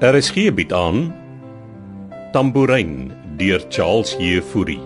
RSG bied Er aan Tambourin deur Charles Jefouri.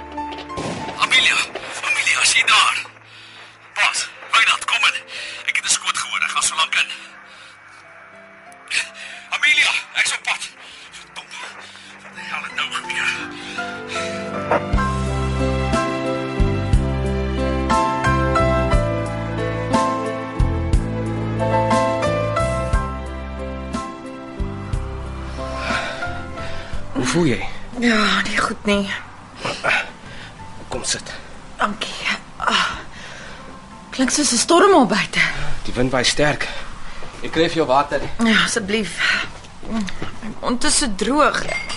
Amelia, Amelia, as jy daar. Pas, Wynand, kom in. Ek het 'n skoot gehoor. Ek gaan so lank in. Amelia, ek's op pad. Dom. Wat die hel het nou gebeur? Hoe voel jy? Ja, nie goed nie. Kom sit. Dankie. Ah. Klink soos 'n storm op buite. Die wind waai sterk. Ek kry vir jou water. Ja, asseblief. Mm, My mond is so droog. Ek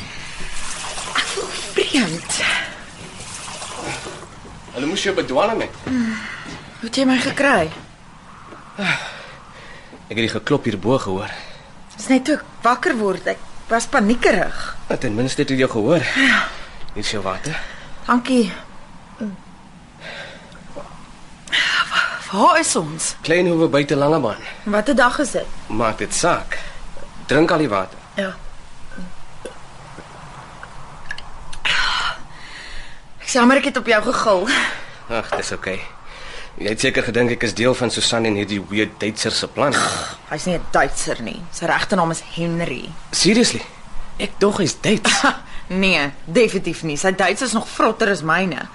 voel vreemd. Hulle moes jou bedwelm het. Hoe het jy my gekry? Ek het die geklop hierbo gehoor. Dis net toe ek wakker word. Ek was paniekerig. Maar Ja, ten minste het hulle jou gehoor. Hier is jou water. Dankie. Mm. Waar is ons? Klein hoewe buite Langebaan. Watter dag is dit? Maak dit saak. Drink al die water. Ja. Ek jammer ek het op jou gegil. Ag, dis oukei. Jy het seker gedink ek is deel van Susan en hierdie weird Duitser se plan. Hy's nie 'n Duitser nie. Sy regte naam is Henry. Seriously? Ek dog hy's Duits. nee, definitief nie. Sy Duits is nog vrotter as myne.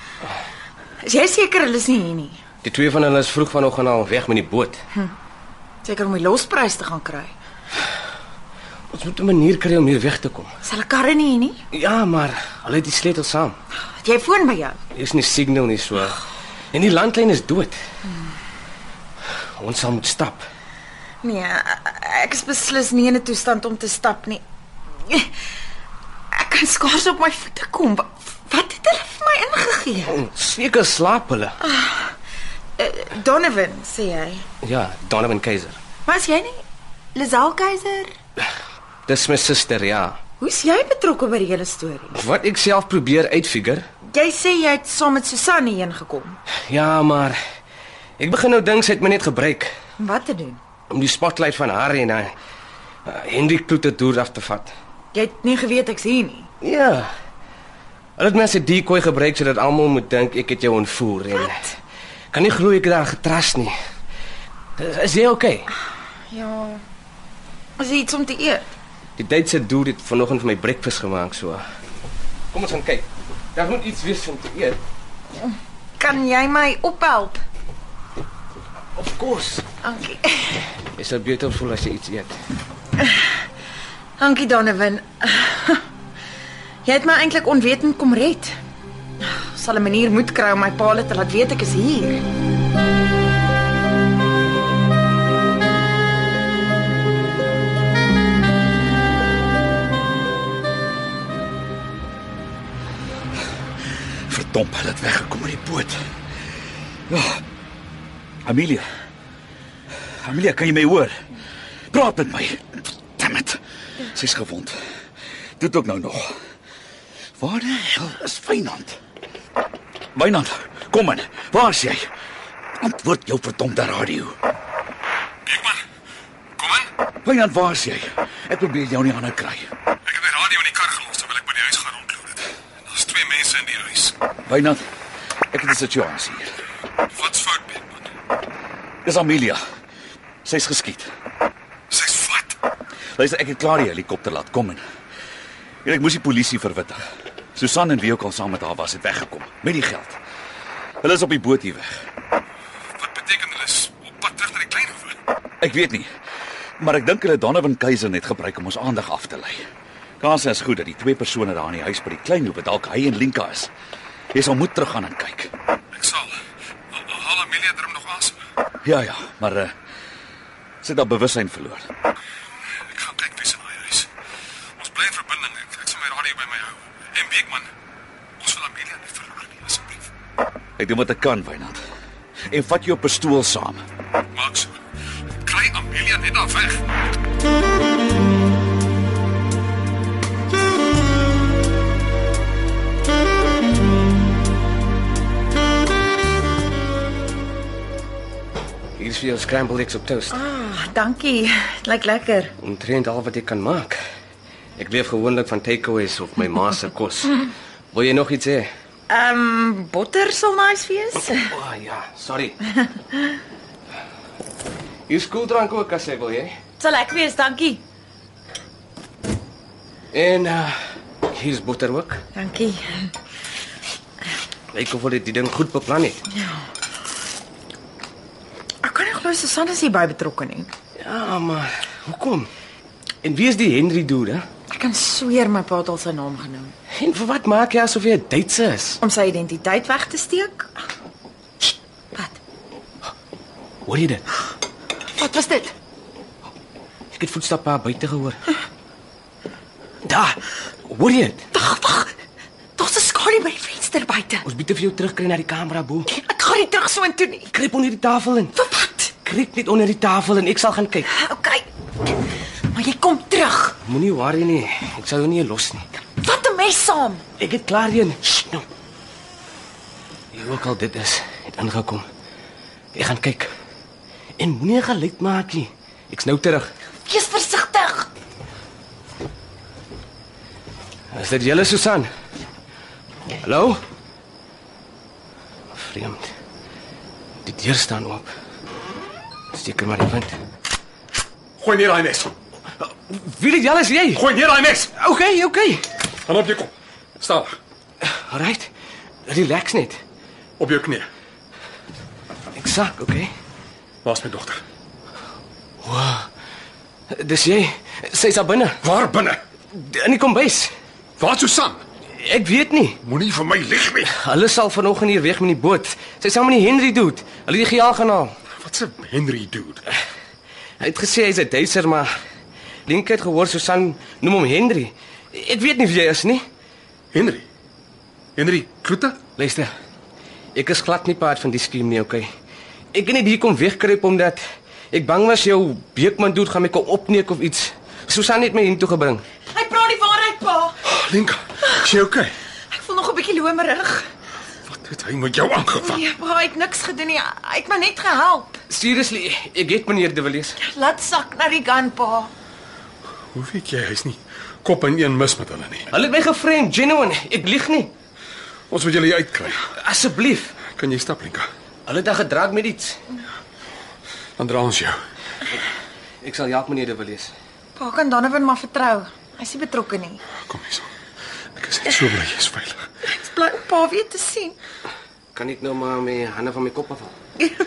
Is jy seker hulle is nie hier nie? Die twee van hulle is vroeg vanoggend al weg met die boot. Seker om die losprys te gaan kry. Ons moet 'n manier kry om hier weg te kom. Is hulle karre nie hier nie? Ja, maar hulle het die sleutel saam. Het jy foon by jou? Is nie signal nie so. En die landlyn is dood. Ons sal moet stap. Nee, ek is beslis nie in 'n toestand om te stap nie. Ek kan skaars op my voete kom. Wa- Wat het hulle vir my ingegee? Seker slaap hulle. Eh, Donovan, sê jy. Ja, Donovan Keiser. Was jy nie Lisel Keiser? Dis my suster, ja. Hoe's jy betrokke by die hele storie? Wat ek self probeer uitfigure. Jy sê jy het saam met Susan hierheen gekom. Ja, maar ek begin nou dink sy het my net gebruik Om wat te doen? om die spotlight van haar en haar uh, Hendrik Kloete deur af te vat. Jy het nie geweet ek's hier nie. Ja. Hulle het my as 'n decoy gebruik sodat almal moet dink ek het jou ontvoer en Wat? kan nie glo ek het haar getras nie. Is jy oukei? Okay? Ja. Is dit iets om te eet? Die Duitse dude het vanoggend vir my breakfast gemaak so. Kom ons gaan kyk. Daar moet iets wees om te eet. Kan jy my ophelp? Of course. Dankie. Jy sal beter voel as jy iets eet. Dankie Donovan. Jy het my eintlik onwetend kom red. Ek Sal 'n manier moet kry om my paal te laat weet ek is hier. Verdomp, hulle het weggekom met die boot. Ja. Amelia. Amelia, kan jy my hoor? Praat met my. Damn it. Sy's gewond. Dit ook nou nog. Waar die hel is Wynand? Wynand, kom in. Waar is jy? Antwoord jou verdomde radio. Kyk maar. Kom in. Wynand, waar is jy? Ek probeer jou nie aan kry. Ek het die radio in die kar gelos terwyl ek by die huis gaan rondloop het. Daar's twee mense in die huis. Wynand, ek het 'n situasie hier. Wat's fout, Beckman? Dis Amelia. Sy's geskiet. Sy's vat. Luister, ek het klaar die helikopter laat kom en en ek moes die polisie verwittig. Susan en wie ook al saam met haar was, het weggekom met die geld. Hulle is op die boot hier weg. Wat beteken hulle is op pad terug na die klein hoeve? Ek weet nie, maar ek dink hulle het Donovan Keiser net gebruik om ons aandag af te lei. Kans is goed dat die twee persone daar in die huis by die klein hoeve dalk hy en Linka is. Jy sal moet teruggaan en kyk. Ek sal. Al- al- Haal Amelia drum nog asem. Ja ja, maar uh, sy het haar bewussyn verloor. Ek gaan kyk wie's in nou daai huis. Ons bly in verbinding. Ek, ek sal my radio by my hou. En Beckman, ons wil Amelia nie verloor nie, asseblief. Ek doen wat ek kan, Wynand. En vat jou pistool saam. Maak so. Kry Amelia net daar weg. juis vir jou scrambled eggs op toast. Ah, dankie. Dit lyk lekker. Omtrent al wat ek kan maak. Ek leef gewoonlik van takeaways of my ma se kos. Wil jy nog iets hê? Ehm um, botter sal nice wees. O oh, ja, sorry. Jou skooldrank ook as jy wil hê. Sal ek wees, dankie. En uh, hier's botter ook. Dankie. Lyk of hulle die ding goed beplan het. Ek kan nie glo Susan is hierby betrokke nie. Ja, maar hoekom? En wie is die Henry dude? hè? Ek kan sweer my pa het al sy naam genoem En vir wat maak jy asof jy 'n Duitse is? om sy identiteit weg te steek. Sst, Wat? Hoor jy dit? Wat was dit? Ek het voetstappe daar buite gehoor. Daar. Hoor jy dit? Wag, wag. Daar's 'n skadu by die venster buite. Ons moet dit vir jou terugkry na die kamera bo. Ek gaan nie terug so intoe nie. Kruip onder die tafel in. Vir wat? Kruip net onder die tafel en ek sal gaan kyk. Okay. Maar jy kom terug. Moenie worry nie. Ek sal jou nie los nie. Vat 'n mes saam. Ek het klaar een. Sst, Nou. Jy ook al dit is, het ingekom. Ek gaan kyk. En moenie geluid maak nie. Ek's nou terug. Wees versigtig. Is dit julle Susan? Hallo? Vreemd. Die deur staan oop. Steek maar die wind. Gooi neer daai mes. Wie dit alles jy? Gooi neer daai mes. Okay, okay. Gaan op jou kop. Staan Alright. Relax net. op jou knie. Ek sak, okay. Waar's my dogter? Dis jy. Sy's daar binne. Waar binne? In die kombuis. Waar Susan? Ek weet nie. Moenie vir my lieg nie. Hulle sal vanoggend hier weg met die boot. Sy saam met die Henry dude. Hulle het die gejaag gaan haal. Wat 'n Henry dude. Hy het gesê hy's 'n Duitser, maar Link het gehoor Susan noem hom Henry. Ek weet nie wie hy is nie. Henry. Henry Kloete? Luister. Ek is glad nie part van die skiem nie, okay. Ek het net hier kom wegkruip omdat ek bang was jou Beekman dude gaan my kom opneek of iets. Susan het my hiernatoe gebring. Hy praat die waarheid, pa. Linka, is jy okay? Ek voel nog 'n bietjie lomerig. Wat het hy met jou aangevang? Nee, pa, hy het niks gedoen nie. Hy het my net gehelp. Seriously, ek het meneer De Villiers. Laat sak na die gun, pa. Hoe weet jy hy's nie kop in een mis met hulle nie? Hulle het my geframe, genuine. Ek lieg nie. Ons moet julle hier uitkry. Asseblief. Kan jy stap, Linka? Hulle het daar gedraag met iets. Dan dra ons jou. Ek sal help meneer De Villiers. Pa kan Donovan maar vertrou. Hy's nie betrokke nie. Kom hier. son. Ek is net so bly jy's veilig. Ek's bly om pa weer te sien. Kan ek nou maar my hande van my kop afhaal?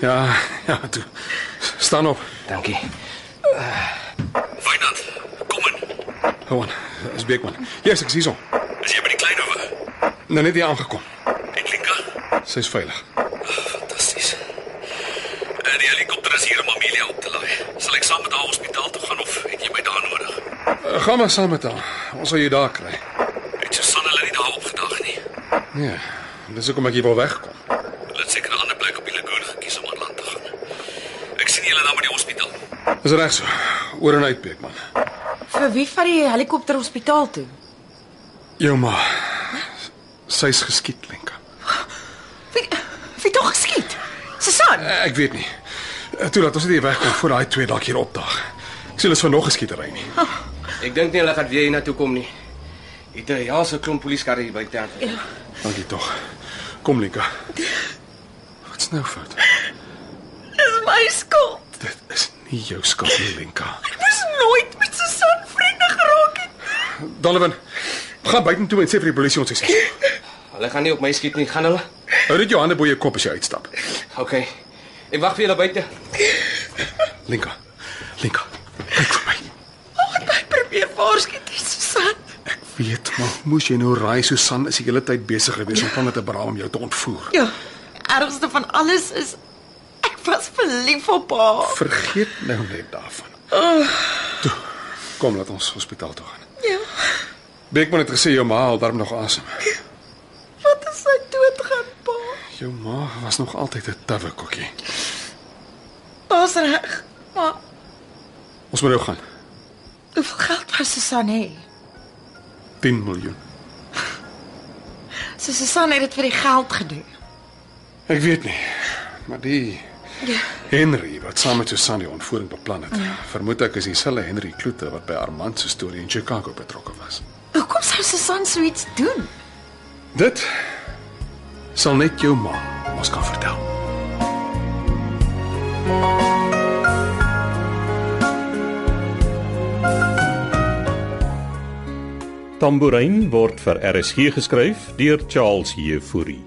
Ja, ja, toe. Staan op. Dankie. Fynand, kom in. Hou aan. Dis Beekman. Jy's ek sien hom. Is jy by die kleinhowe? Nou net hier aangekom. En Linka? Sy's veilig. Fantasties. Eh, Die helikopter is hier om Amelia op te laai. Sal ek saam met haar hospitaal toe gaan of het jy my daar nodig? Uh, Gaan maar saam met haar. Ons sal jou daar kry. Het Susan hulle nie daar opgedag nie. Nee. Dis hoekom ek hier wil wegkom. Hulle het seker 'n ander plek op die lagoon gekies om aan land te gaan. Ek sien julle dan by die hospitaal. Dis reg so. Oor en uit Beekman. Vir wie vat die helikopter hospitaal toe? Jou ma. Sy's geskiet, Lenka. Wie wie tog geskiet? Susan. Ek weet nie. Eh, Toe laat ons net hier wegkom voor daai twee dalk hier opdag. Ek sien hulle is van nog geskietery nie. Ek dink nie hulle gaan weer hiernatoe kom nie. Het 'n ja so klomp polisiekarre hier buite. Dankie tog. Kom Lenka. Wat's nou fout? Dis my skuld. Dit is nie jou skuld nie, Lenka. Ek moes nooit met Susan vriende geraak het. Donovan, gaan buitentoe en sê vir die polisie ons is hier. Hulle gaan nie op my skiet nie, gaan hulle? Hou net jou hande bo jou kop as jy uitstap. OK. Ek wag vir julle buite. Lenka. Lenka. Kyk vir my. Ag, ek het probeer waarsku teen Susan. Ek weet, maar moes jy nou raai Susan is die hele tyd besig gewees om van dit te braam om jou te ontvoer. Ja. Ergste van alles is ek was verlief op haar. Vergeet nou net daarvan. Toe. Kom laat ons hospitaal toe gaan. Ja. Beekman het gesê jou ma haal darm nog asem. Wat as sy doodgaan, pa? Jou ma was nog altyd 'n tawwe kokkie. Pa's reg. Maar Ons moet nou gaan. hoeveel geld wou Susan hê? 10 miljoen. So Susan het dit vir die geld gedoen. Ek weet nie. Maar die Henry wat saam met Susan die ontvoering beplan het. Vermoed ek is dieselfde Henry Kloete wat by Armand se storie in Chicago betrokke was. Hoekom sou Susan so iets doen? Dit sal net jou ma mos kan vertel. Tambourin word vir RSG geskryf deur Charles Heffury.